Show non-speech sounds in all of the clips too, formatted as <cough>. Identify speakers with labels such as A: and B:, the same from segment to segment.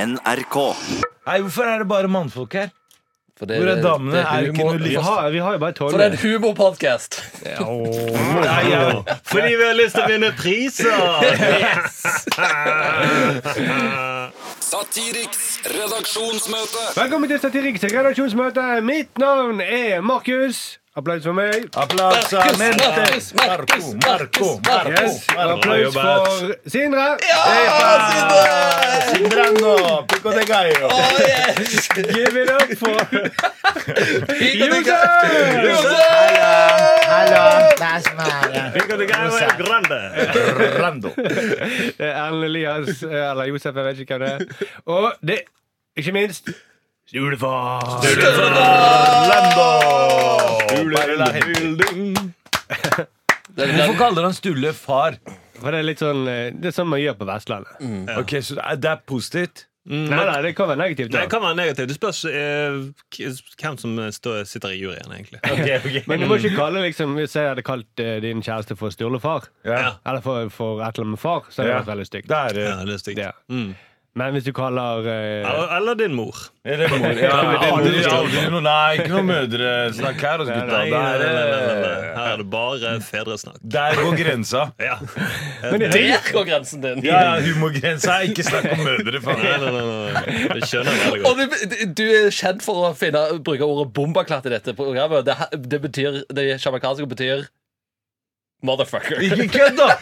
A: NRK.
B: Nei, hvorfor er det bare mannfolk her?
C: For det,
B: Hvor er damene?
C: det
B: Er jo ikke
C: humor-
B: noe lyd. Ha- Vi har jo bare
C: For det er
B: tolv.
C: en humorpodkast!
B: Ja, åh. Nei, ja.
D: Fordi vi har lyst til å vinne priser!
E: Satiriks redaksjonsmøte.
D: Velkommen til Satiriks redaksjonsmøte. Mitt navn er Markus. Applaus for meg.
B: Applausamenter.
C: Markus, Markus, Markus, Markus.
D: Yes, Applaus for Sindre.
C: Oh, yes.
D: Give it up
B: <laughs>
D: for Pico de Gallo Grande. Det er Erlend Elias, eh, eller Josef, jeg vet ikke hvem det er. Og det, ikke minst Julefar.
B: Hvorfor kaller han Sturle far?
D: For det er litt sånn eh, Det er sånn man gjør på Vestlandet.
B: Mm. Ok, Så det er- det er positivt?
D: Nei, nei, det kan være negativt.
F: Det
D: da.
F: kan være negativt. Det spørs eh, k- hvem som står, sitter i juryen, egentlig.
D: Men du må ikke kalle liksom Hvis jeg hadde kalt eh, din kjæreste for styrlefar,
B: Ja.
D: eller for, for et eller annet med far, så hadde det
B: Ja. Mm.
D: vært veldig stygt.
B: Det er
F: Ja, det er stygt.
D: Ja. Men hvis du kaller eh,
F: Eller, eller din mor.
B: Er det mor? Ja, aldri, aldri noe, nei, ikke noe mødresnakk her hos gutta.
F: Nei, nei,
B: Der,
F: nei, nei, nei, nei.
B: eh,
F: Her er det bare fedresnakk.
B: Der går grensa.
F: Ja.
C: Der går grensen din!
B: Ja, ja, humorgrensa. Ikke snakk om mødre, faen.
F: Nei, nei, nei, nei. Det skjønner jeg veldig
C: Og
F: godt.
C: du, du er kjent for å finne, bruke ordet 'bombaklatt' i dette programmet. Det, det betyr Det sjamarkanske betyr Motherfucker.
B: Ikke kødd, da!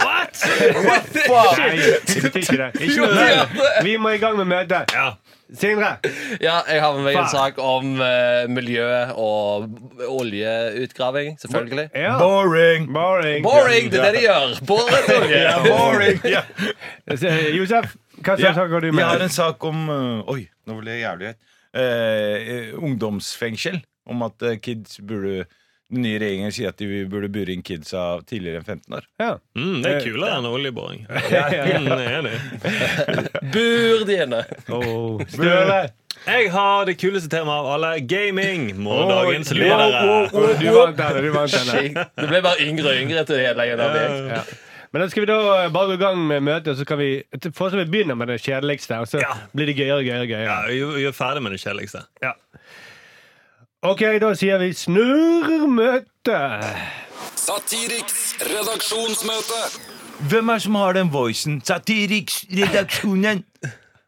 F: What?!
D: Nei, det betyr ikke det. Ikke
C: Jo,
D: noe
C: det gjør
D: mer. Vi må i gang med møtet.
F: Ja.
D: Sindre,
C: <laughs> Ja, jeg har med meg en
D: Faen.
C: sak om eh, miljø og oljeutgraving, selvfølgelig.
D: Ja.
B: Boring.
D: Boring.
C: Boring! Det er det de gjør. Boring,
B: <laughs> Ja, boring. Ja.
D: Eh, Josef, hva slags saker går du
B: Jeg har
D: med?
B: en sak om eh, Oi, nå ble det jævlig høyt. Eh, eh, ungdomsfengsel. Om at eh, kids burde Den nye regjeringen sier at de burde bure inn kidsa tidligere enn 15 år.
D: Ja.
F: Mm, det er kulere enn oljeboring.
D: Ja.
F: Mm, jeg er enig.
C: Bur de inne.
D: Oh, Støle.
F: Jeg har det kuleste temaet av alle. Gaming må
D: Oi,
F: dagens
D: wow,
F: ledere.
D: wow, wow. Du vant denne. du vant denne
C: Shit. Det ble bare yngre og yngre til det hele gjennom det.
D: ja. Men da skal vi da eh, bare gå i gang med møtet, og så kan vi for vi begynner med det kjedeligste. Og så
F: Ja.
D: blir det gøyere gøyere. gøyere
F: Ja, vi vi er ferdig med det kjedeligste.
D: Ok, da sier vi snurr møtet.
E: Satiriks redaksjonsmøte.
B: Hvem er det som har den voicen? Satiriksredaksjonen!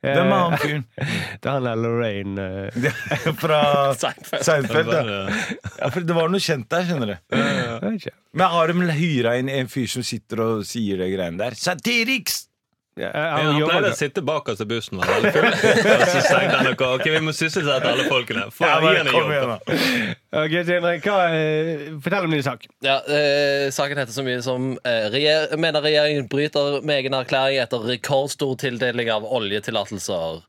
B: Hvem er han fyren?
D: Det er han der Lorraine eh,
B: Fra
C: Seinfeld.
B: Seinfeld,
F: Det
B: ja.
F: var,
B: ja. For det var noe kjent der, skjønner du.
D: jeg vet ikke. Eh,
B: Men har de hyra inn en fyr som sitter og sier det greiene der? Satiriks!
D: Ja,
F: Ja,
D: han
F: han
D: jobber
F: pleide
D: da.
F: å sitte bakerst i bussen og være veldig full. Og så tenkte han noe, ok, vi må sysselsette alle folkene. Få
B: Ja,
F: gi
B: bare
F: henne en
B: kom
F: jobb.
B: igjen, da.
D: Ok, Sindre, hva, eh, fortell om din sak.
C: Ja, eh, saken heter så mye som eh, regjer mener regjeringen bryter med egen erklæring etter rekordstor tildeling av oljetillatelser.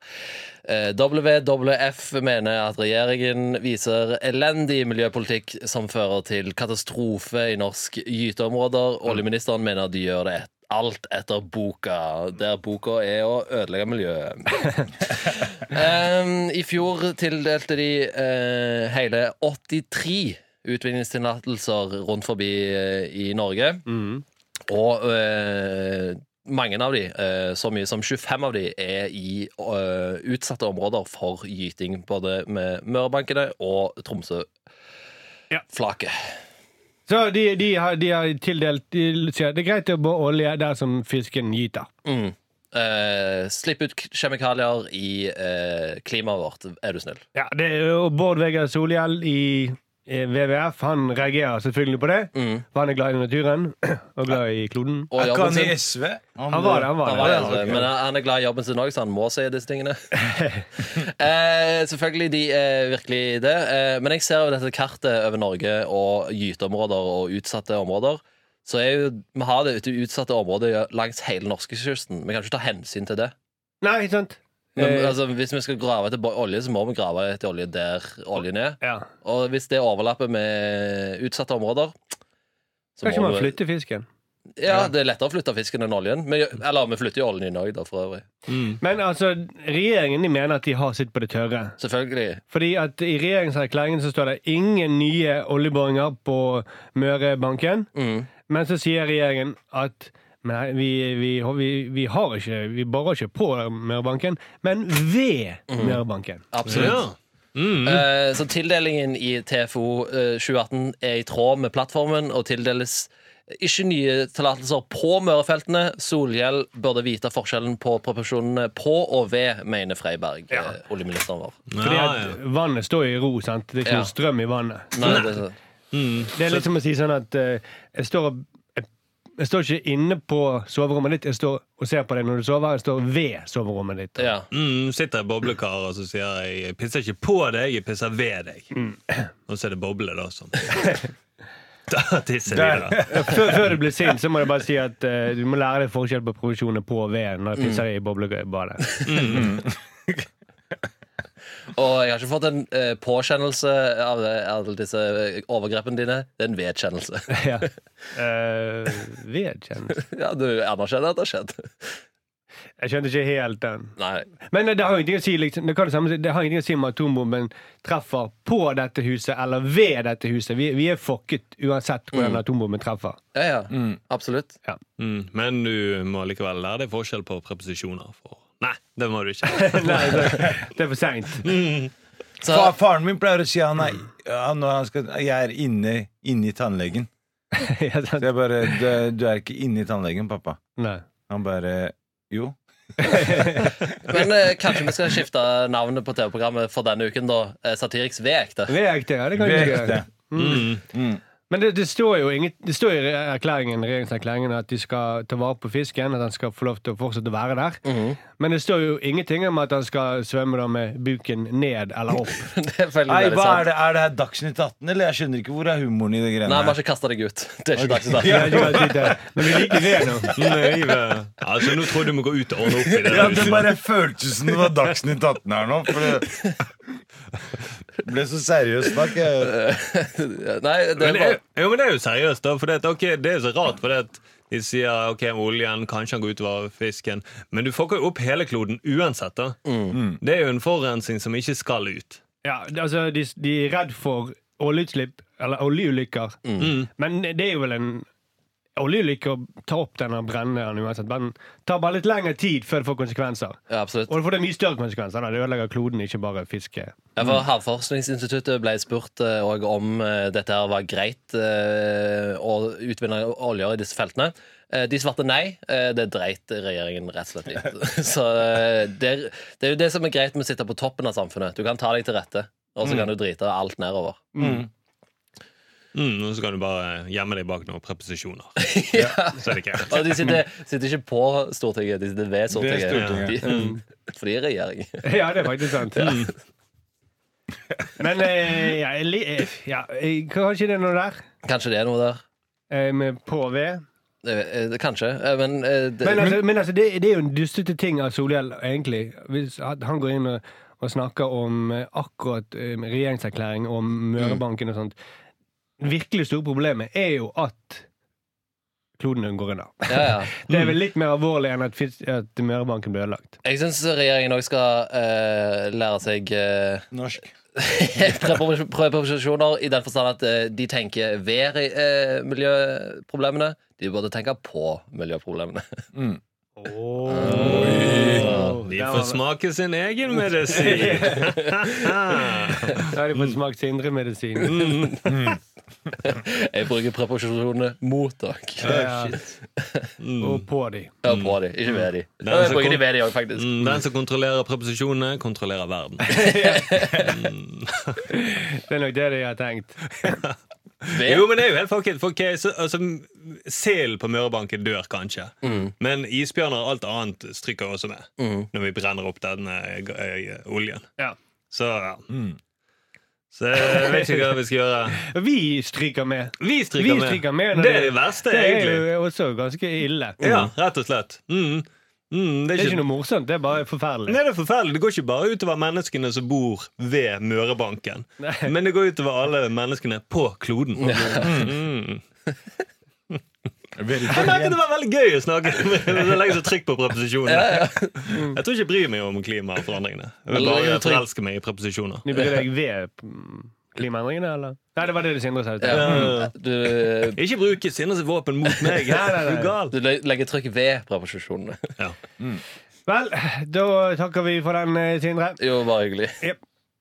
C: Eh, WWF mener at regjeringen viser elendig miljøpolitikk som fører til katastrofe i norsk gyteområder. Oljeministeren mener de gjør det et alt etter boka, der boka er å ødelegge miljøet. Ehm, I fjor tildelte de eh, hele 83 utvinningstillatelser rundt forbi eh, i Norge. Og eh, mange av de, eh, så mye som 25 av de, er i eh, utsatte områder for gyting. Både med Mørebankene og Tromsø-flaket.
D: Ja. Så de, de, har, de har tildelt de, sier, Det er greit å bore olje der som fisken gyter.
C: Mm. Eh, slipp ut k- kjemikalier i eh, klimaet vårt, er du snill.
D: Ja, det, og Bård Vegar Solhjell i eh, WWF han reagerer selvfølgelig på det. For han er glad i naturen <clears throat> og glad i kloden.
C: Mm. Og
B: Er ikke han
C: jobben
B: i
C: sin.
B: SV?
D: Han var det, han var
C: Han
D: det.
C: var det, altså. Men han han er glad i jobben sin òg, så han må si disse <laughs> tingene. eh, selvfølgelig, de er virkelig det. Eh, men jeg ser jo dette kartet over Norge og gyteområder og utsatte områder. Så er jo, vi har det ute i utsatte områder langs hele norskekysten. Vi kan ikke ta hensyn til det.
D: Nei, ikke sant?
C: Men,
D: Eh,
C: altså, hvis vi skal grave etter bo- olje, så må vi grave etter olje der oljen er.
D: ja.
C: Og hvis det overlapper med utsatte områder så
D: Skal ikke
C: må
D: man
C: vi-
D: flytte fisken?
C: Ja, Det er lettere å flytte fisken enn oljen. Men, eller vi flytter jo oljen i Norge, da, for øvrig.
D: Men altså, regjeringen de mener at de har sitt på det tørre.
C: Selvfølgelig.
D: Fordi at i regjeringserklæringen så står det ingen nye oljeboringer på Mørebanken.
C: Mm.
D: Men så sier regjeringen at Nei, vi, vi, har- vi, vi har ikke Vi barer ikke på Mørebanken, men ved
C: Mhm.
D: Mørebanken.
C: Absolutt. Eh, så tildelingen i TFO eh, 2018 er i tråd med plattformen og tildeles eh, ikke nye tillatelser på Mørefeltene. Solhjell burde vite forskjellen på proporsjonene på og ved, mener Freiberg, eh, oljeministeren vår.
D: Fordi
F: Ja, ja.
D: at vannet står i ro, sant? Det er ikke
C: Ja.
D: noe strøm i vannet.
C: Nei, det, er så-
D: Det er litt som å si sånn at eh, jeg, står, og- jeg, jeg står ikke inne på soverommet ditt, jeg står og ser på deg når du sover. Jeg står ved soverommet ditt.
C: ja.
F: Mm, sitter jeg i boblekar og så sier jeg jeg pisser ikke på deg, jeg pisser ved deg. Og så er det boble, da. <laughs> Sånn. Da tisser vi, da.
D: <laughs> Før, før du blir sint, så må jeg bare si at eh, du må lære deg forskjell på provisjoner på og ved når jeg pisser
C: Mm.
D: i boblebadet. <laughs>
C: Og jeg har ikke fått en eh, påkjennelse av eh, alle disse overgrepene dine. Det er en vedkjennelse. <laughs>
D: Ja. Eh, vedkjennelse
C: ja, du anerkjenner at det har skjedd.
D: Jeg skjønte ikke helt den.
C: Nei.
D: Men det, det har jo ingenting å si liksom, det, kan det, samme, si- det har ingenting å si om atombomben treffer på dette huset eller ved dette huset. Vi, vi er fucket uansett hvordan atombomben treffer.
C: Ja, ja. Absolutt.
F: Mm, men du må likevel lære deg forskjell på preposisjoner. For... Nei, det må du ikke.
D: Nei, det, det er for seint. <laughs>
C: Så,
B: Fa, faren min pleier å si han er, han, når han skal, jeg er inne, inne i tannlegen.
D: Ja, sant.
B: Så jeg bare du, du er ikke inne i tannlegen, pappa.
D: Nei.
B: Han bare Jo.
C: men eh, kanskje vi skal skifte navnet på TV-programmet for denne uken, da. Eh, Satiriks ved ekte.
D: Vi er ekte, ja. Det kan vi ikke
B: Vekte.
D: gjøre. Mm. Men det, det står jo inget, det står i erklæringen, regjeringserklæringen at de skal ta vare på fisken, at han skal få lov til å fortsette å være der. Men det står jo ingenting om at han skal svømme da med buken ned eller opp.
C: <laughs> Det er veldig,
B: Nei,
C: veldig
B: hva er
C: sant.
B: det? Er det her Dagsnytt 18, eller? Jeg skjønner ikke hvor er humoren i det
C: Nei,
B: greiene
C: vi har ikke kasta deg ut. <laughs> Det er ikke dags i dag.
D: Det er ikke helt riktig. Men vi liker det nå.
F: <laughs> Nei, men- altså, nå tror jeg du må gå ut og ordne opp i det.
B: Ja, det bare føltes som det var Dagsnytt 18 her nå. For det det ble så seriøst snakk. eh, jeg.
C: Nei, det er
F: Men det er,
C: bare
F: jo, men det er jo seriøst, da. For det, at, ok, det er så rart. For det at de sier ok, oljen, kanskje han går utover fisken. Men du fucker jo opp hele kloden uansett. da Det er jo en forurensning som ikke skal ut.
D: Ja, det- altså, de, de er redd for oljeutslipp, eller oljeulykker. Men det er jo vel en Oljeulykker tar opp denne brenneren uansett. Men det tar bare litt lengre tid før det får konsekvenser.
C: ja, Absolutt.
D: Og det får det mye større konsekvenser. Da. Det ødelegger kloden, ikke bare fisket.
C: Ja, for Havforskningsinstituttet ble spurt eh, og om eh, dette her var greit eh, å utvinne olje i disse feltene. Eh, De svarte nei. eh, Det dreit regjeringen rett og slett i. Så eh, det er, det er jo det som er greit med å sitte på toppen av samfunnet. Du kan ta deg til rette, og så kan du drite alt nedover.
F: Mm, og så kan du bare gjemme deg bak noen preposisjoner.
C: <laughs>
F: Så er det greit.
C: Og de sitter, sitter ikke på Stortinget, de sitter ved Stortinget.
B: Stortinget.
C: <laughs> De, for de er regjering.
D: <laughs> Ja, det er faktisk sant. Men eh, ja, jeg li- eh, ja, eh, kanskje det er noe der.
C: Kanskje det er noe der.
D: eh, Med på og ved.
C: Eh, eh, Kanskje. eh, Men, eh, det,
D: Men altså, men altså det, det er jo en dustete ting av Solhjell, egentlig. Hvis at han går inn og, og snakker om eh, akkurat eh, regjeringserklæring og Mørebanken og sånt. Virkelig store problemet er jo at kloden går unna.
C: ja, ja.
D: Det er vel litt mer alvorlig enn at, fis- at Mørebanken blir ødelagt.
C: Jeg syns regjeringen òg skal eh, lære seg eh, <laughs>
B: Norsk.
C: prepos- preposisjoner i den forstand at eh, de tenker ved eh, miljøproblemene. De burde tenke på miljøproblemene.
D: <laughs>
C: <laughs>
D: Oh.
F: De får smake sin
D: <laughs>
F: egen medisin.
D: Da har de fått smakt sindremedisin.
C: Jeg bruker preposisjonene mot dere.
D: Ja. Og på de.
C: Ja, på de, ikke ved de.
F: er
C: Jeg
F: så
C: bruker de
F: kort.
C: ved de òg, faktisk.
F: Mm, Den som kontrollerer preposisjonene, kontrollerer
D: <laughs>
F: verden.
D: Det er nok det de har tenkt.
C: Ved.
F: Jo, men det er jo helt fucket. For ok, så, altså, Selen på Mørebanken dør kanskje,
D: Mm.
F: men isbjørner og alt annet stryker også med når vi brenner opp den eh, g- eh, oljen.
D: Ja.
F: Så ja.
D: Mm.
F: Så jeg vet ikke hva vi skal gjøre.
D: Og Vi stryker med. <laughs>
F: Vi
D: Vi
F: stryker med.
D: stryker med når
F: det er det verste,
D: det er
F: egentlig.
D: jo også ganske ille.
F: Ja, rett og slett. Mm. Mm,
D: Det er ikke noe morsomt, det er bare forferdelig.
F: Nei, det er forferdelig. Det går ikke bare utover menneskene som bor ved Mørebanken.
D: Nei.
F: Men det går utover alle menneskene på kloden. Mm.
B: Veldig
F: Jeg merker
B: pent.
F: det var veldig gøy å snakke Det legger så trykk på preposisjonene. <laughs> Jeg tror ikke jeg bryr meg om klimaforandringene. Jeg vil
C: Eller
F: bare
C: trykk.
F: forelske meg i preposisjoner.
D: Du bryr deg ved mm, Klimaendringene, eller? Nei, det var det Sindre sa. Ja.
F: Ja.
C: Du,
F: Eh,
C: eh,
F: Ikke bruke Sindres våpen mot
D: <laughs>
F: meg! Er du gal?
C: du le- legger trykk ved preposisjonene.
F: Ja.
D: Vel, da takker vi for den, eh, Sindre.
C: Jo, bare hyggelig.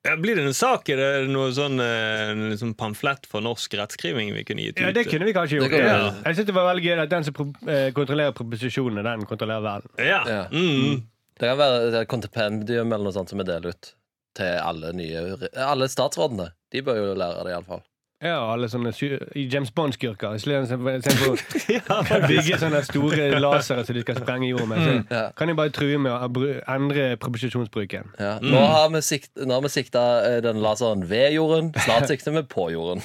F: Ja, blir det en sak? Er det noe sånn eh, en liksom pamflett for norsk rettskriving vi kunne gitt ut?
D: Ja, det kunne vi kanskje gjort.
C: Det kan vi
D: Ja.
F: gjøre.
D: Jeg synes det var veldig gøy at den som pro- eh, kontrollerer proposisjonene, den kontrollerer verden.
F: Ja.
C: Ja.
D: <laughs>
F: Mm.
C: Det kan være et kontipendium eller noe sånt som vi deler ut til alle nye Alle statsrådene. De bør jo lære det, iallfall.
D: Ja, alle sånne sy- James Bond-skurker. Istedenfor
C: <laughs>
D: å bygge sånne store lasere som de skal sprenge jorden med.
C: Mm. Ja.
D: Så kan de bare true med å bru- endre proposisjonsbruken.
C: Ja. Nå har vi, sikt, nå har vi sikta eh, den laseren ved jorden. Snart sikter vi på jorden.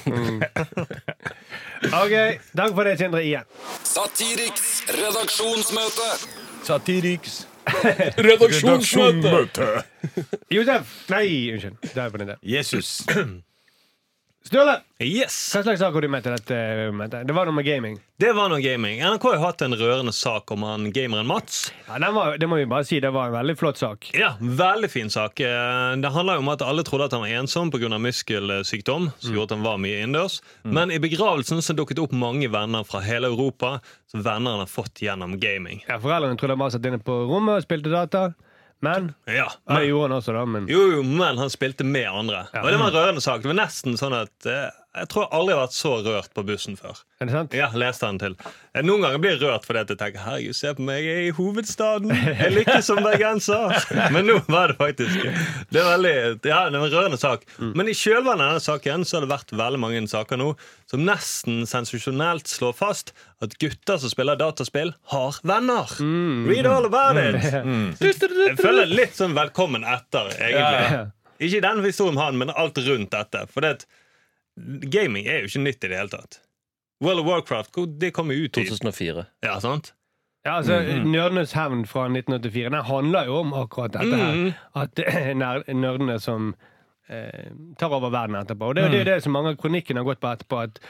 D: Ok, Takk for det, Sindre, igjen.
E: Satiriks redaksjonsmøte.
B: Satiriks
D: Josef! Nei, unnskyld. Det er på den der.
B: Jesus.
D: Sturle!
F: <laughs> Yes!
D: Hva slags sak har du med til dette? møtet? Det var noe med gaming.
F: Det var noe gaming. NRK har hatt en rørende sak om han gameren Mats.
D: Ja, den var, det må vi bare si, det var en veldig flott sak.
F: Ja, Veldig fin sak. Eh, Det handler jo om at alle trodde at han var ensom pga. muskelsykdom. Som gjorde at han var mye innendørs. Men i begravelsen så dukket det opp mange venner fra hele Europa. Så venner han har fått gjennom gaming.
D: Ja, Foreldrene trodde han bare satt inne på rommet og spilte data, men
F: Ja,
D: ja, Det
F: men,
D: gjorde han også, da. Men
F: jo, jo, men han spilte med andre. Og det var en rørende sak. Det var nesten sånn at eh, Jeg tror jeg aldri har vært så rørt på bussen før.
D: er det sant?
F: Ja, leste han til. Eh, Noen ganger blir jeg rørt fordi at jeg tenker herregud, se på meg, jeg er i hovedstaden. Jeg lykkes som bergenser. Men nå var det faktisk Det er veldig, ja, det er en rørende sak. Men i kjølvannet av denne saken så har det vært veldig mange saker nå som nesten sensasjonelt slår fast at gutter som spiller dataspill, har venner. Read all about it! Jeg føler litt sånn velkommen etter, egentlig. Ikke den historien med han, men alt rundt dette. For det, at gaming er jo ikke nytt i det hele tatt. World of Warcraft hvor- det kom jo ut i
C: 2004.
F: Ja, sant?
D: Ja, altså,
F: Mm-hmm.
D: Nerdenes hevn fra 1984 den handler jo om akkurat dette her.
F: Mm-hmm.
D: At eh, ner- nerdene som eh, tar over verden etterpå. Og det er jo
F: Mm.
D: det, det som mange av kronikkene har gått på etterpå. at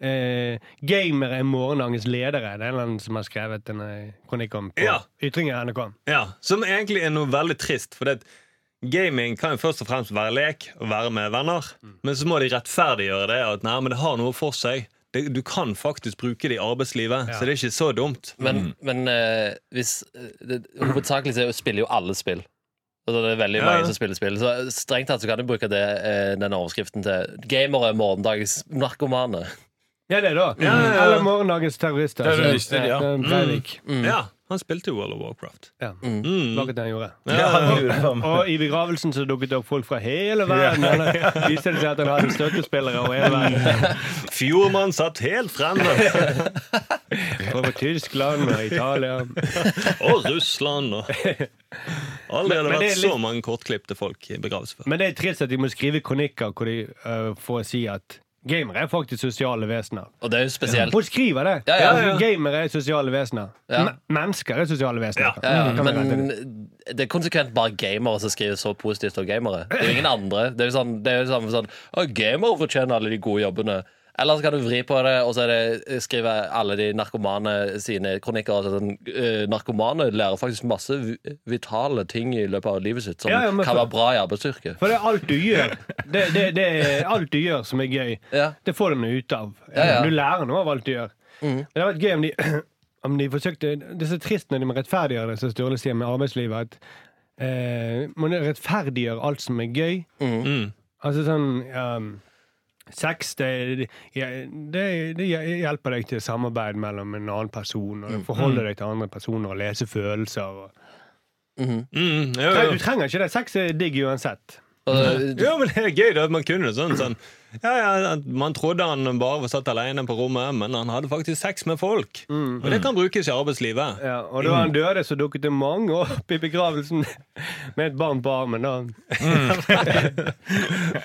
D: Eh, gamere er morgendagens ledere. Det er en eller annen som har skrevet en eh, kronikk om på
F: Ja.
D: Ytringer NRK.
F: Ja, Som egentlig er noe veldig trist. For det, at gaming kan jo først og fremst være lek og være med venner. Men så må de rettferdiggjøre det. At nei, men det har noe for seg. Det, du kan faktisk bruke det i arbeidslivet, så det er ikke så dumt.
C: Men, men eh, hvis eh, det, Hovedsakelig så spiller jo alle spill. Altså, det er veldig
F: Ja.
C: mange som spiller spill. Så eh, strengt tatt så kan du bruke det, eh, den overskriften til gamere er morgendagens narkomane.
D: Ja, det, da.
F: Ja, ja, ja.
D: Eller morgendagens terrorister.
B: Terrorister,
D: altså.
B: ja.
D: Eh, Breivik.
F: Ja, Han spilte jo World of Warcraft.
D: Ja.
F: Mm.
D: Hva var det han gjorde?
B: <laughs> Ja,
D: Og i begravelsen så dukket det opp folk fra hele verden. Ja. Viste det seg at han hadde støttespillere over hele verden.
F: Fjordmann satt helt fremme.
D: Over Tyskland og Italia.
F: Og Russland og Aldri har
D: Men-
F: det
D: men det
F: vært
D: er
F: så mange kortklipte folk i begravelse før.
D: Men det er trist at de må skrive kronikker hvor de øh, får si at gamere er faktisk sosiale vesener.
C: Og det er jo spesielt.
D: Folk skriver det!
C: Ja, ja,
F: ja.
D: Altså, Gamere er sosiale vesener.
C: Ja.
D: Me- Mennesker er sosiale vesener.
F: Ja,
C: Ja,
D: Kan vi rette
C: men
D: det?
C: det er konsekvent bare gamere som skriver så positivt om gamere. Det er jo ingen andre. Det er jo sånn, det er jo sånn, sånn Å, gamere fortjener alle de gode jobbene. Eller så kan du vri på det, og så er det, eh, skrive alle de narkomane sine kronikker. Altså, sånn, eh, narkomane lærer faktisk masse vi- vitale ting i løpet av livet sitt som
D: Ja, ja, men
C: kan
D: for-
C: være bra i arbeidsstyrke.
D: For det er alt du gjør det, det, det er alt du gjør som er gøy.
C: Ja.
D: Det får du noe ut av.
C: ja. Mm.
D: Du lærer noe av alt du gjør. Men det hadde vært gøy om de, <clears throat> om de forsøkte Det er så trist når de må rettferdiggjøre det, som Sturle sier, med arbeidslivet. At eh, man rettferdiggjør alt som er gøy.
C: Mm.
D: Altså sånn um, Sex, det, ja, det, det hjelper deg til samarbeid mellom en annen person. Og
C: Mm.
D: Forholde deg til andre personer og lese følelser. Og.
F: Mm, jo,
D: Nei,
F: jo.
D: du trenger ikke det. Sex er digg uansett.
C: Og, eh,
F: jo, men det er gøy da at man kunne sånn. sånn. Ja, ja, at man trodde han bare var satt alene på rommet, men han hadde faktisk sex med folk. Og det kan brukes i arbeidslivet.
D: Ja, og da
F: Mm.
D: han døde, så dukket det mange opp i begravelsen <laughs> med et barn på armen. Da.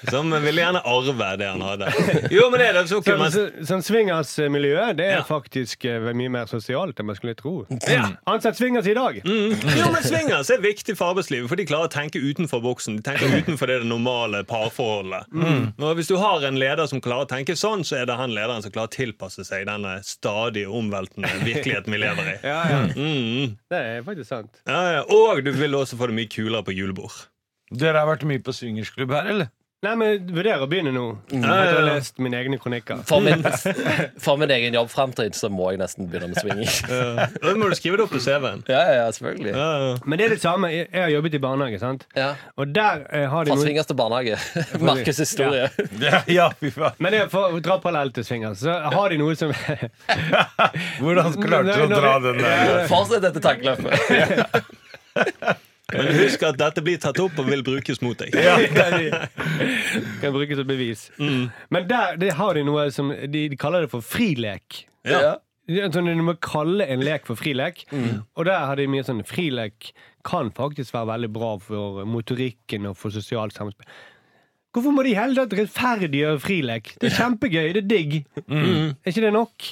F: Som ville gjerne arve det han hadde. <laughs> Jo, men det er det så
D: Så,
F: kunne man...
D: så, sånn swingersmiljø det er
F: Ja.
D: faktisk eh, mye mer sosialt enn man skulle tro.
F: Ja.
D: Ansett swingers i dag!
F: Mm. Jo, men Swingers er viktig for arbeidslivet, for de klarer å tenke utenfor boksen. De tenker utenfor det normale parforholdet.
D: Mm.
F: Og Hvis du har en leder som klarer å tenke sånn, så er det han lederen som klarer å tilpasse seg denne stadig omveltende virkeligheten vi
D: <laughs>
F: lever i.
D: Ja, ja.
F: Mm.
D: Det er faktisk sant.
F: Ja, ja. Og du vil også få det mye kulere på julebord.
B: Dere har vært mye på swingersklubb her, eller?
D: Nei, men jeg vurderer å begynne nå.
F: Mm.
D: Etter å ha lest mine egne kronikker.
C: For min, for min egen jobbframtid så må jeg nesten begynne med swinging.
F: Ja. Da må du skrive det opp på CV-en.
C: <laughs> Ja, ja, selvfølgelig.
F: Ja, ja.
D: Men det er det samme. Jeg jeg har jobbet i barnehage, sant?
C: Ja.
D: Og der eh, har de
C: Fra
D: noen
C: swingers til barnehage. Markus' historie.
B: Ja, <laughs> ja, fy faen.
D: Men det er for å dra parallell til swingers, så har de noe som <laughs>
B: Hvordan klarte du
D: Nei,
B: å dra
D: nei,
B: den der?
C: Fortsett dette tankeløpet.
F: Men husk at dette blir tatt opp og vil brukes mot deg.
D: kan brukes som bevis.
B: Mm.
D: Men der det har de noe som De, de kaller det for frilek. Det
F: Ja.
D: er Sånn, du må kalle en lek for frilek.
B: Mm.
D: Og der har de mye sånn Frilek kan faktisk være veldig bra for motorikken og for sosialt samspill. Hvorfor må de i hele tatt rettferdiggjøre frilek? Det er kjempegøy. Det er digg.
B: Mm.
D: Er ikke det nok?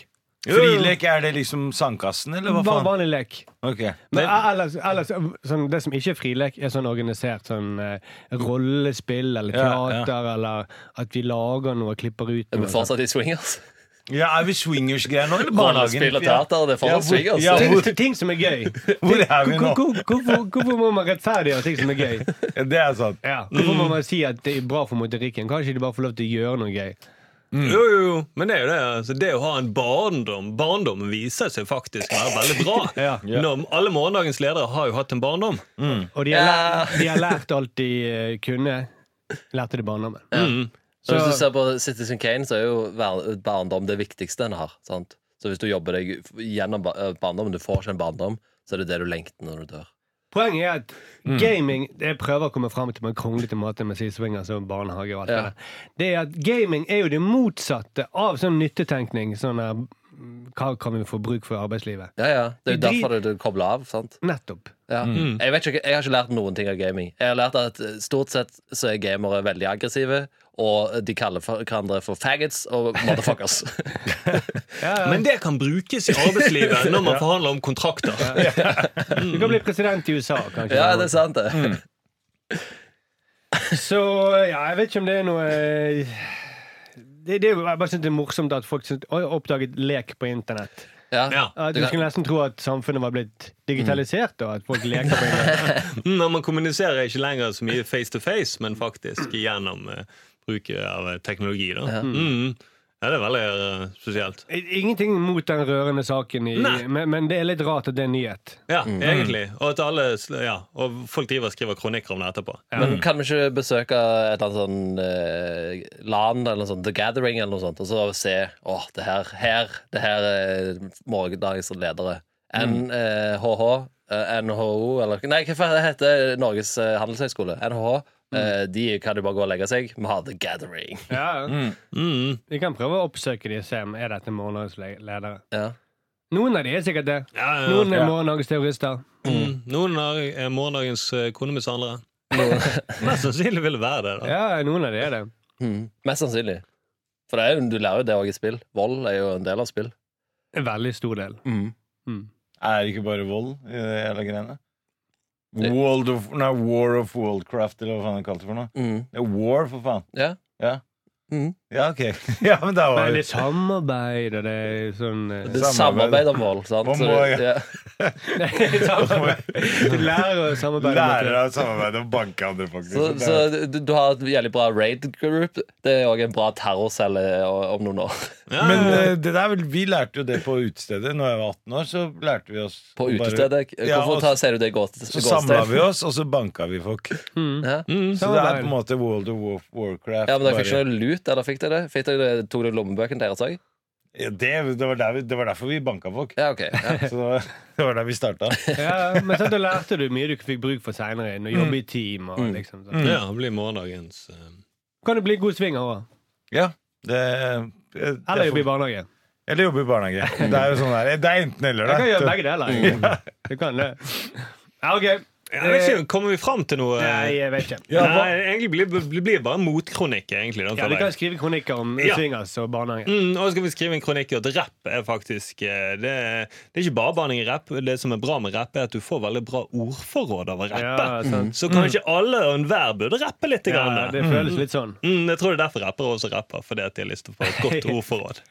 B: Frilek, er det liksom sandkassen, eller hva
D: Bare
B: faen?
D: vanlig lek.
B: Ok.
D: Men eh, ellers, ellers sånn, Det som ikke er frilek, er sånn organisert sånn eh, rollespill eller
B: Ja, ja.
D: teater, eller at vi lager noe og klipper ut
C: Er vi
D: noe.
C: fortsatt i swingers?
B: Ja, Er vi swingers-greier nå, eller barnehagen?
C: Rollespill og teater, det er
B: Ja,
C: fortsatt
B: hvor-
C: swingers.
B: ja,
D: Ting,
B: hvor-
D: ting som er
C: <laughs>
D: gøy.
B: Hvor er vi nå?
D: Hvor- hvor- Hvorfor hvorfor må man rettferdiggjøre ting som er
C: <laughs>
D: gøy?
B: Ja, Det er sant.
D: Ja. Hvorfor må man si at det er bra for motorikken? Kanskje de bare får lov til å gjøre noe gøy?
F: Mm. Jo, jo, jo. Men det er jo det. Altså, det å ha en barndom Barndom viser seg faktisk å være veldig bra.
D: Ja.
F: Når, alle morgendagens ledere har jo hatt en barndom.
D: Og de
C: Ja.
D: har, lært, de har lært alt de eh, kunne. Lærte de barndommen.
C: Så hvis du ser på Citizen Kane, så er jo ver- barndom det viktigste en har. Sant? Så hvis du jobber deg f- gjennom ba- eh, barndommen, du får ikke en barndom, så er det det du lengter når du dør.
D: Poenget er at
C: Mm.
D: gaming Jeg prøver å komme fram til på en kronglete måte med siswingers og barnehage og alt
C: Ja.
D: det der. Det er at gaming er jo det motsatte av sånn nyttetenkning. Sånn der, mm, hva kan vi få bruk for i arbeidslivet?
C: Ja, ja. Det er jo
D: Vi drit-
C: derfor du, du kobler av. sant?
D: Nettopp.
C: Ja.
B: Mm.
C: Jeg, vet ikke, jeg har ikke lært noen ting av gaming. Jeg har lært at eh, Stort sett så er gamere veldig aggressive, og de kaller for, hverandre for faggots og motherfuckers. <laughs>
F: Men det kan brukes i
D: <laughs>
F: arbeidslivet når man forhandler om kontrakter.
D: Du kan bli president i USA, kanskje.
C: Mm. ja, det er sant, det.
B: Mm.
D: Så ja, jeg vet ikke om det er noe eh, det, det, er jo- jeg bare synes det er morsomt at folk synes, oi, oppdaget lek på internett.
C: Ja.
F: Ja.
D: At Du skulle nesten tro at samfunnet var blitt digitalisert, og at <laughs> folk leker på internett.
F: Mm, Når man kommuniserer ikke lenger så mye face to face, men faktisk gjennom eh, bruket av eh, teknologi. Da. Mm. Ja, det er veldig eh, spesielt.
D: Ingenting mot den rørende saken, i,
F: Nei.
D: men, men det er litt rart at det er en nyhet.
F: Ja, egentlig.
D: Mm.
F: Og at alle sl- Ja, og folk driver og skriver kronikker om det etterpå.
C: Men kan vi ikke besøke et eller annet sånn eh, LAN eller noe sånt, The Gathering eller noe sånt, og så se åh, det her, her, det her er morgendagens ledere. NHH, eh, NHO eller Nei, hva faen det heter Norges eh, handelshøyskole? NHH. Eh, de kan jo bare gå og legge seg. Vi har The Gathering.
D: Ja, ja.
F: Mm.
D: Vi kan prøve å oppsøke de og se om er dette morgendagens le- ledere.
C: Ja.
D: Noen av de er sikkert det.
F: Ja, ja, ja.
D: Noen er morgendagens terrorister.
F: Mm. Noen av er morgendagens eh, konemisshandlere. <laughs> Mest sannsynlig vil det være det. da
D: Ja, noen av de er det.
C: Mm. Mest sannsynlig. For det er, jo- du lærer jo det òg i spill. Vold er jo en del av spill.
D: En veldig stor del. Mm.
B: Er det ikke bare vold i det hele greiene? World of, nei, War of Worldcraft, eller hva faen det kalte for noe.
C: Mm.
B: Det er War, for faen.
C: Ja.
B: Ja.
C: Mm.
B: Ja, ok. <laughs> Ja, men da var
D: Men det
B: det
D: er samarbeid, og det er sånn eh,
C: Det er samarbeid om vold, sant?
B: Om
C: Så
B: vold,
C: det- ja. <laughs>
D: samarbeid.
B: <laughs>
D: Du lærer å samarbeide.
B: Lærer av samarbeid og banke andre, faktisk.
C: Så,
B: Det er-
C: så du, du har et veldig bra raid group. Det er òg en bra terrorcelle o- om noen år.
F: Ja,
B: Men
F: ja, ja.
B: eh, det der, vel- vi lærte jo det på utestedet. Når jeg var 18 år, så lærte vi oss
C: På
B: å bare-
C: utestedet.
B: Ja,
C: Hvorfor
B: og
C: tar, ser du det gått?
B: Så samla vi oss, og så banka vi folk.
C: Mm.
B: Mm,
C: Ja.
B: Så det er på en måte World of War- Warcraft.
C: ja, men Dere
B: bare-
C: fikk ikke noe lut, eller fikk dere det? Fikk dere det? Tok dere lommebøkene deres òg?
B: Ja, det, det, var der vi, det var derfor vi banka folk.
C: Ja, ok. Ja.
B: Så det var, <laughs> det var der vi starta.
D: Ja, men sånn, da lærte du mye du ikke fikk bruk for seinere.
F: Mm.
D: Jobbe i team og liksom sånn.
F: ja, det blir morgendagens eh,
D: Kan du bli god svinger òg?
B: Ja, det, eh,
D: Eller
B: derfor-
D: jobbe i barnehage.
B: Eller jobbe i barnehage. Det er jo sånn der, det er enten eller.
D: Jeg
B: da.
D: kan gjøre begge deler. jeg. <laughs> Du kan det. Ja, OK.
F: Mm. ja, jeg vet ikke, Kommer vi fram til noe? eh,
D: Nei, jeg vet ikke.
F: Nei, egentlig blir det blir bare motkronikk, egentlig. Da,
D: Ja,
F: for
D: Du
F: meg.
D: kan skrive kronikker om
F: Ja.
D: swingers og barnehage.
F: Mm, og så skal vi skrive en kronikk i at rapp er faktisk eh, Det, det er ikke bare banning i rapp. Det som er bra med rapp, er at du får veldig bra ordforråd av å rappe.
D: Ja,
C: Mm.
D: sant. Mm.
F: Så kanskje alle og enhver burde rappe litt.
D: Ja,
F: grann.
D: det føles litt sånn.
F: Mm, jeg tror det er derfor rappere også rapper, fordi at de har lyst til å få et
D: <laughs>
F: godt ordforråd.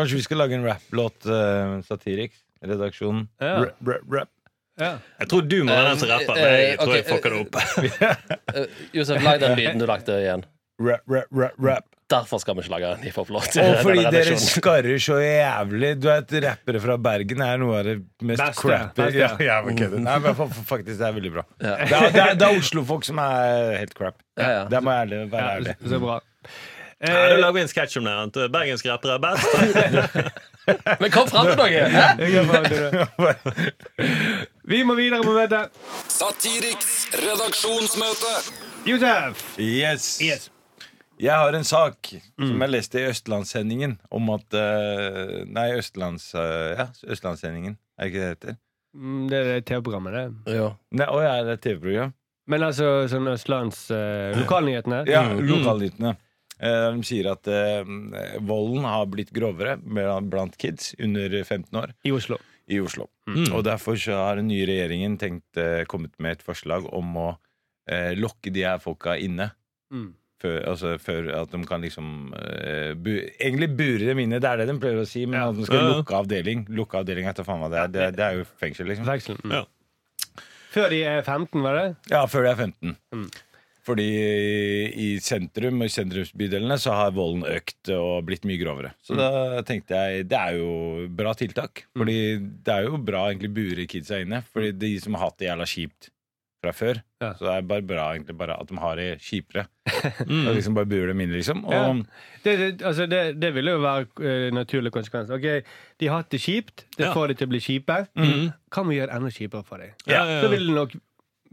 B: Kanskje vi skal lage en rapplåt, uh, Satiriks? eh, Redaksjonen.
D: Ja.
B: Rap, rap, rap.
D: Ja.
F: Jeg tror du må være den som
C: Eh,
F: rapper, men jeg
C: eh,
F: tror jeg
C: ok,
F: fucker det opp. <laughs>
C: Eh, Josef, lag den lyden du lagde igjen.
B: Rap, rap, rap, rap.
C: Derfor skal vi ikke lage <laughs> den. De får få lov til
B: Og
C: denne
B: fordi dere
C: redaksjonen.
B: skarrer så jævlig. Du vet, Rappere fra Bergen er noe av det mest
D: Beste,
B: crappy
D: beste.
B: <laughs> ja, jeg var kødder. Nei, men fa- fa- Faktisk, det er veldig bra.
C: Ja.
B: Det er, det er, det er Oslo-folk som er helt crap.
C: Ja, ja.
B: Det må jeg ærlig, være
D: Ja,
B: ærlig.
D: så, så bra.
F: Ja, Da
D: Eh,
F: lager vi en sketsj om det. at Bergenske rappere er best.
D: <laughs>
C: Men kom fram
B: <laughs>
C: til noe! Hæ?
D: vi må videre på møtet.
E: Satiriks redaksjonsmøte.
D: Josef!
B: Yes. Jeg har en sak
C: Mm.
B: som jeg leste i Østlandssendingen om at eh, Nei, Østlands, eh, ja, Østlandssendingen. Er det ikke det det heter?
D: Mm, Det er det TV-programmet, det.
C: Ja.
B: Nei, å ja, det er TV-program.
D: Men altså sånn Østlands eh, lokalnyhetene.
B: Ja, lokalnyhetene. Eh, De sier at eh, volden har blitt grovere blant blant kids under 15 år
D: I Oslo.
B: i Oslo. Og derfor så har den nye regjeringen tenkt, eh, kommet med et forslag om å eh, lokke de her folka inne.
D: Mm.
B: Før, altså, før at de kan liksom eh, bu Egentlig bure dem inne, det er det de pleier å si, men at de skal
F: Ja, ja.
B: lukke avdeling. Lukke avdeling etter faen hva det er. Det, det er jo fengsel, liksom.
D: Vekselen. Mm.
F: Ja.
D: Før de er 15, var det?
B: Ja, før de er 15.
D: Mm.
B: Fordi i sentrum og i sentrumsbydelene så har volden økt og blitt mye grovere.
D: Mm.
B: Så da tenkte jeg det er jo bra tiltak. Fordi det er jo bra egentlig å bure kidsa inne. Fordi de som har hatt det jævla kjipt fra før,
D: Mm. Ja.
B: så det er bare bra egentlig bare at de har det
D: <laughs>
B: kjipere. Og liksom bare bure dem inn, liksom. Og,
D: Ja. Det, det, altså det, det ville jo være eh, naturlig konsekvens. Ok, De har hatt det kjipt. Det
F: Ja. Mhm.
D: får de til å bli kjipe. Hva med å gjøre det enda kjipere for dem?
F: Ja, ja,
D: Så
F: ja.
D: vil det nok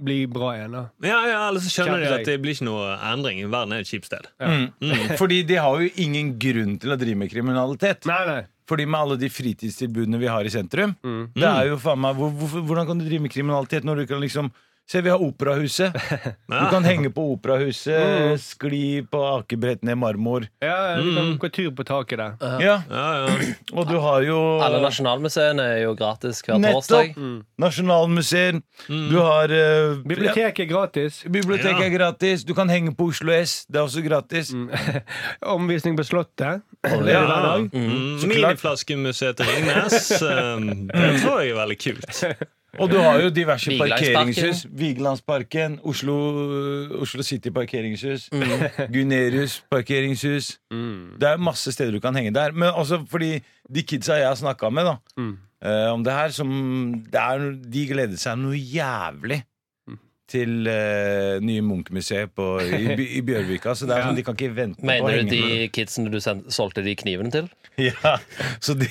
D: bli bra igjen. da
F: ja, ja, Eller så skjønner de
D: Kjempe
F: at det blir ikke noe endring. Verden er et kjipt sted.
B: mm. Fordi de har jo ingen grunn til å drive med kriminalitet.
D: Nei, nei.
B: Fordi med alle de fritidstilbudene vi har i sentrum Det er jo faen meg hvor, hvorfor- Hvordan kan du drive med kriminalitet når du kan liksom Se, vi har <laughs> operahuset Du kan henge på operahuset Skli på akebretten i marmor
D: Ja, Vi
F: Mhm.
D: kan gå tur på taket der.
B: Ja,
F: Ja, ja.
B: og du har jo
C: Alle nasjonalmuseene er jo gratis hver torsdag.
B: Nettopp Nasjonalmuseet Du har eh,
D: Biblioteket er gratis.
B: ja, Biblioteket er gratis Du kan henge på Oslo S Det er også gratis
D: Omvisning på Slottet.
B: ja.
F: Mm,
B: Så klart.
F: Miniflaskemuseet til Ringnes. <laughs> um, Det tror jeg er veldig kult.
B: Og du har jo diverse
C: Vigelandsparken.
B: parkeringshus. Vigelandsparken, Oslo, Oslo City parkeringshus,
C: Mm.
B: Gunerius parkeringshus.
F: Mhm.
B: Det er masse steder du kan henge der. Men også fordi de kidsa jeg har snakka med da,
C: Mm.
B: eh, om det her, som det er, De gledet seg noe jævlig.
C: Mm.
B: Til eh, nye Munch-museet på- i, By- i Bjørvika. Så det er sånn, de kan ikke vente på å
C: Mener
B: henge
C: du
B: med.
C: de kidsene du sen- solgte de knivene til?
B: <laughs> Ja, så de,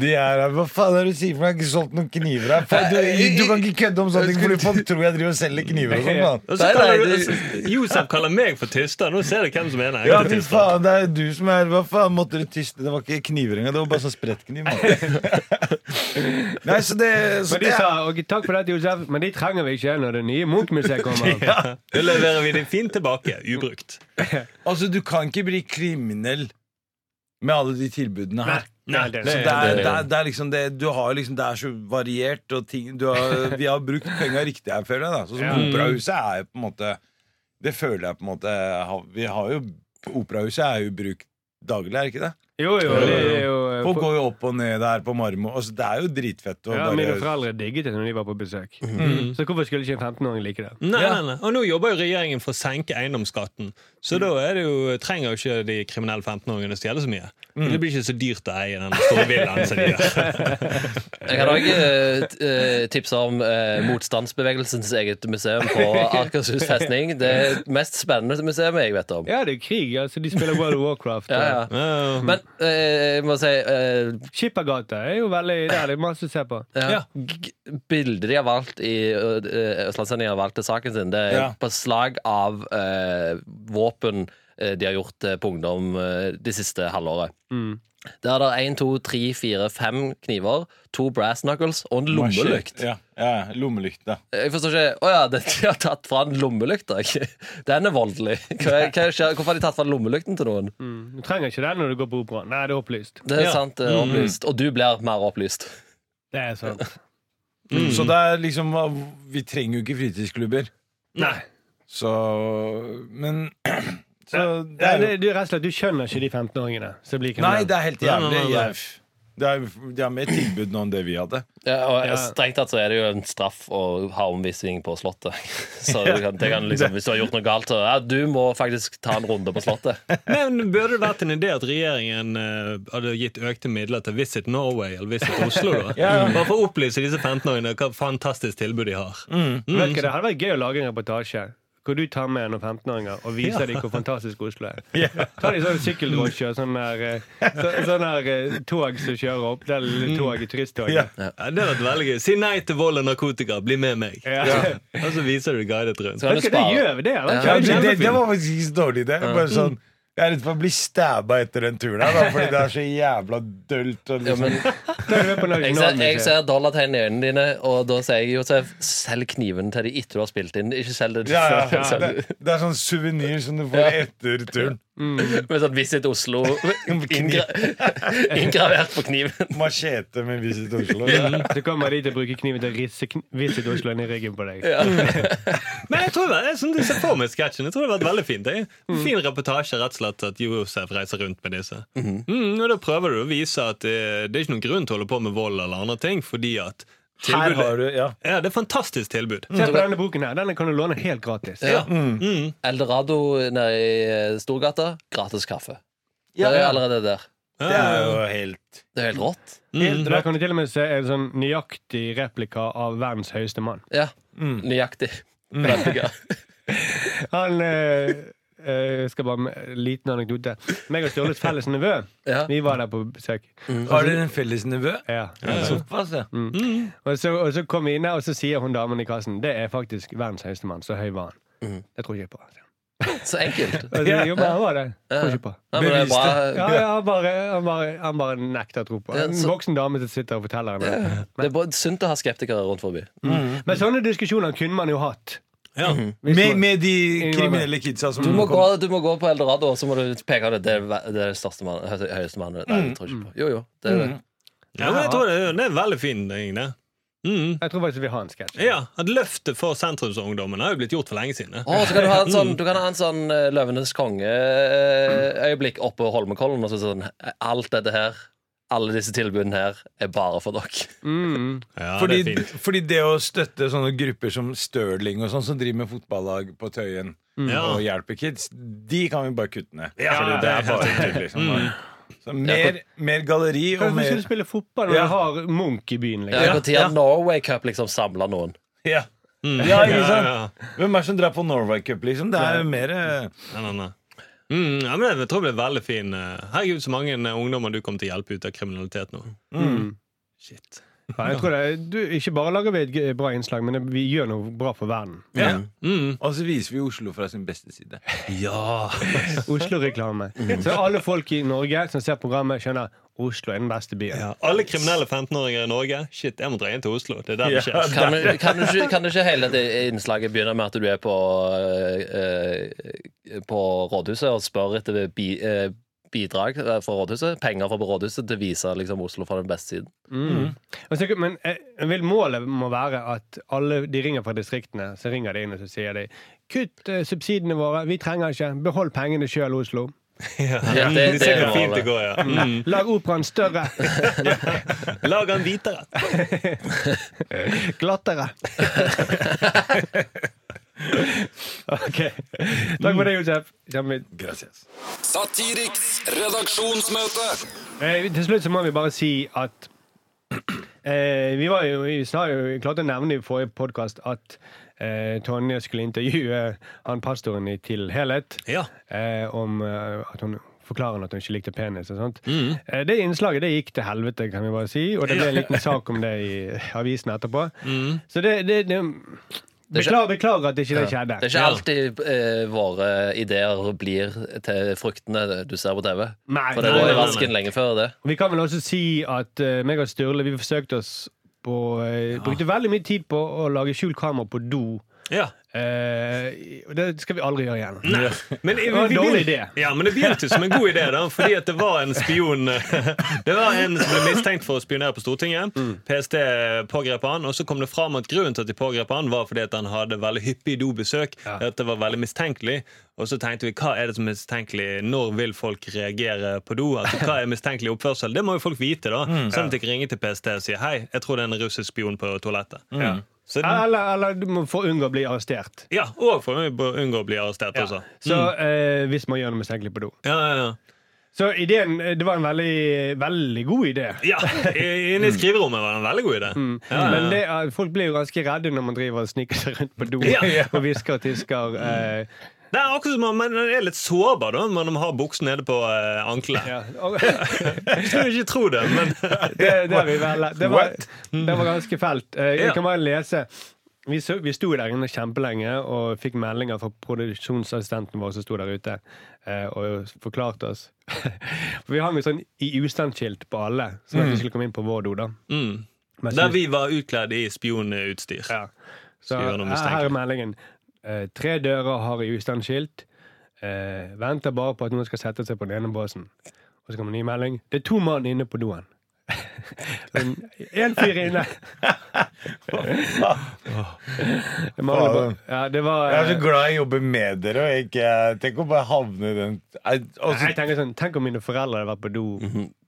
B: de er her Hva faen er det du sier for noe? Jeg har ikke solgt noen kniver her. Faen, du, du kan ikke kødde om sånne ting, fordi folk tror jeg driver og selger kniver og sånn. faen.
F: <laughs> Og så
C: Nei,
F: kaller
C: nei,
F: du-
C: det-
F: Josef kaller meg for tyster. Nå ser du hvem som er den
B: Ja, fy
F: ekte tysteren.
B: faen, det er du som er Hva faen, måtte du tyste? Det var ikke kniver engang, det var bare sånn sprettkniv. mann. Nei, så det, så
D: Men de
B: det
D: sa ok, takk for dette, Josef, men de trenger vi ikke når det nye Munch-museet
F: <laughs>
D: kommer.
F: <laughs> Da leverer vi det fint tilbake. Ubrukt.
B: Altså, du kan ikke bli kriminell med alle de tilbudene her.
F: Nei,
D: det-
B: Så det er, det, er, det er liksom det Du har liksom, det er så variert og ting du har, Vi har brukt penga riktig her, føler jeg. da Sånn som Operahuset er jo på en måte Det føler jeg på en måte har- Vi har jo Operahuset er jo brukt daglig, er det ikke det?
D: Jo, jo, det er jo eh,
B: Folk går jo opp og ned der på marmor. Altså, det er jo dritfett å
D: ja, Mine
B: bare Mhm.
D: foreldre digget det når de var på besøk. Så hvorfor skulle ikke en 15-åring like det?
F: Nei, nei, nei. Og nå jobber jo regjeringen for å senke eiendomsskatten. Så da er det jo, trenger jo ikke de kriminelle 15-åringene å stjele så mye. Det blir ikke så dyrt å eie den store villaen som de gjør. <laughs>
C: Jeg kan òg tipse om eh, motstandsbevegelsens eget museum på Akershus festning. Det er det mest spennende museet jeg vet om.
D: Ja, det er krig. altså De spiller World of
B: <laughs>
D: Warcraft.
C: Ja,
D: og-
C: ja. Men eh, jeg må si eh,
D: Skippergata er jo veldig Der er det masse å se på.
C: ja. g- Bildet de har valgt i ø, ø, Østlandssendingen har valgt til saken sin, det er
B: Ja.
C: på slag av ø, våpen ø, de har gjort ø, på ungdom ø, de siste halvåret. Der er det én, to, tre, fire, fem kniver, to brass knuckles og en lommelykt.
B: Ja, ja, lommelykt, ja.
C: Jeg forstår ikke Å ja, det- de har tatt fra en lommelykt. da. <laughs> Den er voldelig. Hva, hva skjer? Hvorfor har de tatt fra lommelykten til noen?
D: Du trenger ikke den når du går på operaen. Nei, det er opplyst.
C: Det er
F: Ja.
C: sant, det er
B: Mm.
C: opplyst. Og du blir mer opplyst.
D: Det er sant.
B: <laughs> Så det er liksom Vi trenger jo ikke fritidsklubber.
F: Nei.
B: Så Men <clears throat> Så
D: Det er, det, det er rett og slett, Du skjønner ikke de 15-åringene som
B: Nei,
D: blir kriminelle.
B: det er helt
F: Nei,
B: jævlig.
F: nei, nei, nei.
B: Jeg, Det er, det er mer tilbud nå enn det vi hadde.
C: Ja, og Strengt tatt så er det jo en straff å ha omvisning på Slottet. <laughs> Så du kan, det kan liksom, Hvis du har gjort noe galt, så ja, du må faktisk ta en runde på Slottet.
F: Men burde det vært en idé at regjeringen eh, hadde gitt økte midler til Visit Norway eller Visit Oslo? da?
B: <laughs> Ja.
F: Bare for å opplyse disse 15-åringene hva fantastisk tilbud de har.
B: Mm.
D: Vet ikke, det hadde vært gøy å lage en reportasje hvor du tar med noen 15-åringer og viser dem hvor fantastisk Oslo
B: <laughs>
D: er. Ta de sånn sykkeldrosje og sånn der, eh, så, sånn der eh, tog som kjører opp. Det er lille tog,
B: Mm. Ja.
D: turisttoget.
F: Ja, det hadde vært veldig gøy. Si nei til vold og narkotika, bli med meg.
D: Ja.
F: Og så viser du guidet rundt.
C: Så kan
D: Vet
C: du
D: du hva, det
C: spare.
D: gjør vi, det. eller?
B: Ja,
D: Kjører
B: det,
D: vi
B: det,
D: kjempefint.
B: det var faktisk ikke så dårlig idé. Bare sånn, jeg er redd for å bli stabba etter den turen her, da, fordi det er så jævla dølt. Og
C: <laughs> Ja,
B: liksom.
C: men
D: Tar du med på
C: jeg ser, jeg
D: Nasjonalmuseet?
C: ser dollartegn i øynene dine, og da sier jeg Josef, selg kniven til de etter du har spilt inn. Ikke selg det du
B: ja, ja,
C: før. <laughs> selg
B: Det,
C: det.
B: det er sånn suvenir som du får etter turen.
C: Med sånn Visit
B: <laughs>
C: Oslo inngra <laughs> inngravert på kniven.
B: Machete med Visit Oslo.
D: <laughs> Så kommer de til å bruke kniven til å risse kn- visse dåslene i ryggen på deg.
F: Men jeg tror det, jeg, som du ser for meg i sketsjen, jeg tror det hadde vært veldig fint. Jeg.
B: Mm.
F: En fin reportasje rett og slett at Josef reiser rundt med disse.
B: Mm-hmm.
F: Mm, og Da prøver du å vise at eh, det er ikke noen grunn til å holde på med vold eller andre ting, fordi at
B: Her
F: tilbudet
B: har du, ja.
F: ja, Det er et fantastisk tilbud.
D: Se på denne boken her. Denne kan du låne helt gratis.
C: Ja. Eldorado nede i eh, Storgata, gratis kaffe. Det er allerede der.
B: Det er jo helt
C: Det er helt rått.
D: Mm. Der kan du til og med se en sånn nøyaktig replika av verdens høyeste mann.
C: Ja, nøyaktig. Replika.
D: Han eh, eh, skal bare med en liten anekdote. Meg og Sturles felles nevø. <laughs>
C: Ja.
D: Vi var der på besøk.
B: Har dere en felles nevø?
D: Ja. Mm.
B: Såpass, ja. Mm.
D: Og, så, og så kom vi inn, og så sier hun damen i kassen Det er faktisk verdens høyeste mann. Så høy var han.
B: Mm.
D: Det tror ikke jeg på. sier hun.
C: Så enkelt.
D: Og så, jo, men han var det. Tror ikke på.
C: Nei, men det er
D: Ja,
C: bra.
D: ja, han, bare, han, bare, han bare nekter å tro på.
C: Ja,
D: En
C: så-
D: voksen dame som sitter og forteller henne. det.
C: Det er bra- sunt å ha skeptikere rundt forbi.
D: Men sånne diskusjoner kunne man jo hatt.
F: Ja.
C: Mm.
D: Hvis
B: Med,
D: man-
B: med de kriminelle kidsa som
C: Du må, gå,
B: Mm. kom-
C: du må gå på Eldorado, og så må du peke ut det, er ve- det er største mann, hø- høyeste mannen. Nei, det tror jeg ikke på. Jo, jo. Det er det.
F: Ja, men jeg tror det, det er en veldig fin ting, det. Mm.
D: Jeg tror faktisk vi har en sketsj.
F: Ja, at Løftet for sentrumsungdommen har jo blitt gjort for lenge siden.
C: Å, så kan du ha en sånn, du kan ha en sånn eh, Løvenes konge-øyeblikk oppe på Holmenkollen. Og så sånn eh, Alt dette her, alle disse tilbudene her, er bare for dere.
D: Mm.
F: Ja, det er
B: fordi,
F: fint.
B: fordi det å støtte sånne grupper som Stirling og sånn, som driver med fotballag på Tøyen
F: Ja.
B: og hjelper kids, de kan vi bare kutte ned.
F: Ja,
B: Fordi det er bare tull, liksom. Så mer, mer galleri og
D: Hvorfor skal
B: mer
D: du spille fotball når
B: Ja.
D: du har Munch i byen?
C: Ja,
D: Liksom?
C: Når har Norway Cup liksom samla noen?
B: <laughs> ja.
F: Mm.
B: Ja, ikke sant?
F: Ja, ja.
B: Hvem er det som drar på Norway Cup, liksom? Det er jo mer eh,
F: Nei, nei, nei. Mm, ja, men jeg tror det blir veldig fin. eh, Herregud, så mange eh, ungdommer du kommer til å hjelpe ut av kriminalitet nå. Mm. Shit.
D: Ja, jeg tror det, du, ikke bare lager vi et g- bra innslag, men vi gjør noe bra
C: <laughs>
D: for verden.
B: ja.
F: Mm.
B: Og så viser vi Oslo fra sin beste side.
F: Ja.
D: Oslo-reklame.
C: Mm.
D: Så alle folk i Norge som ser programmet, skjønner Oslo er den beste byen.
F: ja. Alle kriminelle 15-åringer i Norge. Shit, jeg må dra inn til Oslo. Det er der det
B: Ja,
F: skjer.
C: Kan, du- kan, du ikke, kan du ikke hele det innslaget begynne med at du er på, eh, eh, på rådhuset og spør etter bi, eh, bidrag eh, fra rådhuset? Penger fra rådhuset til å vise liksom, Oslo fra den beste siden?
D: Mm. Og så- Men jeg, jeg vil målet må være at alle de ringer fra distriktene, så ringer de inn og så sier de kutt eh, subsidiene våre, vi trenger ikke, behold pengene sjøl, Oslo.
F: <laughs> Ja.
C: Ja, det-
F: Vi
C: det
F: ser
C: er
F: hvor fint
C: målet.
F: det går, ja. Mm.
D: Lag operaen større, <laughs>
F: Lag han hvitere.
D: glattere. <laughs> ok. Takk for det, Josef. Kjempefint.
B: Gracias.
E: Satiriks redaksjonsmøte.
D: Eh, til slutt så må vi bare si at <clears throat> eh, Vi var jo, vi sa jo vi klarte å nevne i forrige podkast at eh, Tonje skulle intervjue han pastoren i Til helhet
F: Ja.
D: eh, om eh, at hun forklarer at hun ikke likte penis og sånt.
C: Mm.
D: Eh, det innslaget det gikk til helvete, kan vi bare si, og det ble en liten sak om det i avisen etterpå.
C: Mm.
D: Så det, det, det
C: er ikke-
D: Beklager, beklager at ikke det skjedde.
C: Det er ikke alltid eh, våre ideer blir til fruktene du ser på TV.
D: Nei,
C: For det
D: nei,
C: lå
D: nei,
C: i
D: nei.
C: vasken lenge før det.
D: Og Vi kan vel også si at eh, meg og Sturle vi forsøkte oss på eh, Brukte veldig mye tid på å lage skjult kamera på do.
F: Ja.
D: Eh, og det skal vi aldri gjøre igjen.
F: Nei. Men vi,
D: Det var en dårlig
F: begynte-
D: idé.
F: Ja, men det begynte som en god idé, da, fordi at det var en
D: <laughs>
F: spion Det var en som ble mistenkt for å spionere på Stortinget. PST pågrep han, og så kom det fram at grunnen til at de pågrep han, var fordi at han hadde veldig hyppig dobesøk. At det var veldig mistenkelig. Og så tenkte vi hva er det som er mistenkelig? Når vil folk reagere på do? Altså, hva er mistenkelig oppførsel? Det må jo folk vite, da.
D: Mm.
F: Sånn at de ikke ringer til PST og sier hei, jeg tror det er en russisk spion på toalettet.
D: Mm.
F: Så,
D: Eller, eller du må få unngå å bli arrestert.
F: ja, og for å unngå å bli arrestert
D: Ja.
F: også.
D: Så eh, hvis man gjør noe mistenkelig på do.
F: Ja, ja, ja.
D: Så ideen, eh, det var en veldig, veldig god idé.
F: Ja, i- inne i skriverommet var det en veldig god idé. Ja, ja, ja.
D: Mm. Men det, er- folk blir jo ganske redde når man driver og sniker seg rundt på do
F: <laughs> Ja.
D: og hvisker og tisker. Eh,
F: Det er akkurat som om man er litt sårbar da, når man har buksen nede på eh, ankelet.
D: ja. Og-
F: <laughs> Jeg skulle ikke tro det,
D: <laughs>
F: men
D: det, det, er vi vel, det, var,
B: What?
D: det var ganske fælt. Eh,
F: Ja.
D: Jeg kan bare lese. Vi, så, vi sto der inne kjempelenge og fikk meldinger fra produksjonsassistenten vår som sto der ute eh, og forklarte oss. <laughs> For vi hang jo sånn i ustand-skilt på alle, sånn at vi skulle komme inn på vår do. da.
F: mm.
D: Men
F: Der
D: så-
F: vi var utkledd i spionutstyr.
D: Ja. Så
F: Skal gjøre noe
D: her her
F: mistenkelig.
D: er meldingen. Eh, tre dører har i ustand-skilt. Eh, venter bare på at noen skal sette seg på den ene båsen. Og så kommer en ny melding. Det er to mann inne på doen. <laughs> Én fyr inne! Det
B: Faen.
D: mangler bare- Ja, det var
B: Jeg er så
D: eh,
B: glad jeg jobber med dere. Og ikke, tenk å bare havne i den Jeg- altså-
D: jeg tenker sånn, Tenk om mine foreldre hadde vært på do.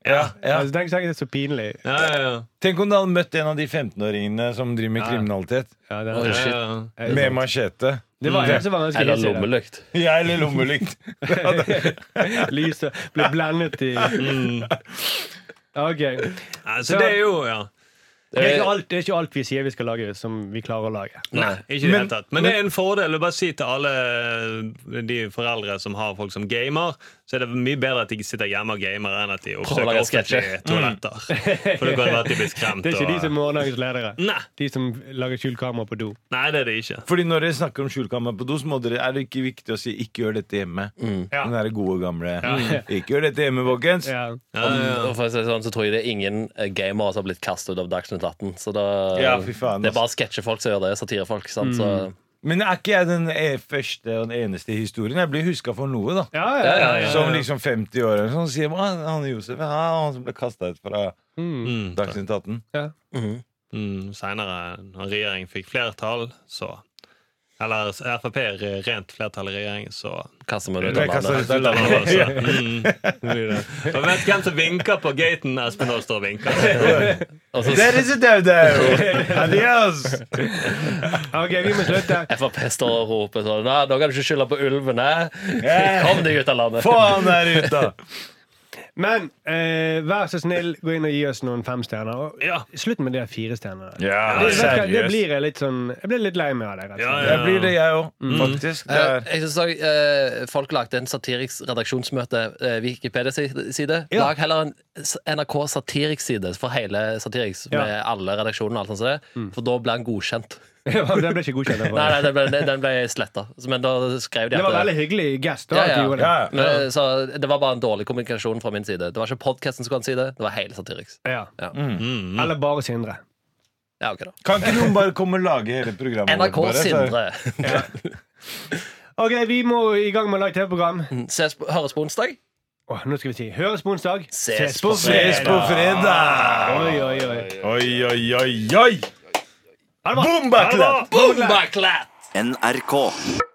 B: ja, ja.
D: Altså, tenk, tenk, det er så pinlig.
F: Ja, ja, ja.
B: Tenk om du hadde møtt en av de 15-åringene som driver med kriminalitet.
D: Ja, det,
C: Oi,
D: er-
F: ja,
C: shit.
F: ja.
D: er sant.
B: Med machete.
D: det var en som var ganske
C: Eller
D: hissig, da.
C: lommelykt.
B: Ja, eller <laughs> lommelykt.
D: <laughs> Lyset ble blendet i OK.
F: Ja, Så det er jo ja.
D: Det er, ikke alt, det er ikke alt vi sier vi skal lage, som vi klarer å lage.
F: Nei, ikke i det hele tatt. Men det er en fordel å bare si til alle de foreldre som har folk som gamer, så er det mye bedre at de sitter hjemme og gamer enn at de
C: å
F: oppsøker
C: lage
F: offentlige toaletter. For det kan være
D: <laughs>
F: at de blir skremt.
D: Mm. Det er ikke de
F: og-
D: som er morgendagens ledere.
F: Nei.
D: De som lager skjult kamera på do.
F: Nei, det er det ikke.
B: Fordi når dere snakker om skjulkammer på do, så må dere, er det ikke viktig å si 'ikke gjør dette hjemme'.
D: Ja.
B: Den der gode gamle <laughs> 'ikke gjør dette hjemme', folkens.
D: Ja.
F: Ja, ja, ja.
C: Og for å si det sånn, så tror jeg det er ingen eh, gamere som har blitt kastet ut av Dagsnytt 18. Så da,
B: Ja, fy faen,
C: det er bare sketsjefolk som gjør det. Satirefolk. Sant? Så,
B: Men er ikke jeg den e- første og den eneste i historien? Jeg blir huska for noe, da.
D: Ja, ja, ja, ja.
B: Som liksom 50 år eller sånn sier «Hva, han Josef, ja, han som ble kasta ut fra
F: Mm.
B: Dagsnytt 18.
F: Mm, senere, når regjeringen fikk flertall, så Eller Frp er rent flertall i regjering, så <laughs>
C: kaster man ut
B: Ble
C: av
B: kastet ut
C: landet.
B: av
F: Eller
B: landet.
F: altså, mm, det blir det. Og vet hvem som vinker på gaten? Espen Aas står og vinker.
C: Og så
B: Der is a <laughs> dodo! Adios!
D: Ok, vi må slutte.
C: Frp står og roper sånn Nei, nå kan du ikke skylde på ulvene.
B: Ja.
C: Kom deg ut av landet.
B: Få han der ut, da!
D: Men eh, vær så snill, gå inn og gi oss noen femstjerner. Og
F: Ja.
D: Slutt med de fire stjerner.
B: Ja,
D: det, vet du hva, det
B: seriøst.
D: blir jeg litt sånn Jeg blir litt lei meg av det. rett og
F: Ja,
D: slett.
B: Jeg blir det, jeg òg, faktisk. Det
C: Eh,
B: er.
C: Jeg synes også, eh, Folk lagde en satiriks redaksjonsmøte eh, Wikipedia-side. Lag heller en s- NRK Satiriks-side for hele Satiriks,
D: Ja.
C: med alle redaksjonene. og alt sånt som det, For da ble han godkjent.
D: <laughs> det ble ikke
C: <laughs>
D: godkjent.
C: Nei,
D: Det,
C: nei den ble, den ble sletta. Men da skrev de
D: det
C: at eh,
D: var veldig hyggelig gest. da
C: Ja,
D: at du
C: ja.
D: gjorde det.
B: Ja, ja.
C: Men, eh, Så det var bare en dårlig kommunikasjon fra min side. Det var ikke podkasten som skulle ha en side, det var hele Satiriks.
D: Ja.
C: Ja.
B: Mm,
D: Eller bare Sindre.
C: Ja, ok da.
B: Kan ikke noen bare komme og lage hele programmet?
C: NRK
B: vårt bare, så-
C: Sindre.
D: Ok, vi må i gang med å lage TV-program.
C: <laughs> Ses, på- høres på onsdag.
D: Åh, nå skal vi si Høres på onsdag.
C: Ses
D: på
B: Ses på fredag!
D: Oi, oi, oi.
B: Oi, oi, oi, oi!
D: bra.
B: Bomba
D: Ha det bra.
B: clap!
C: Boom, bare klatt!
A: NRK.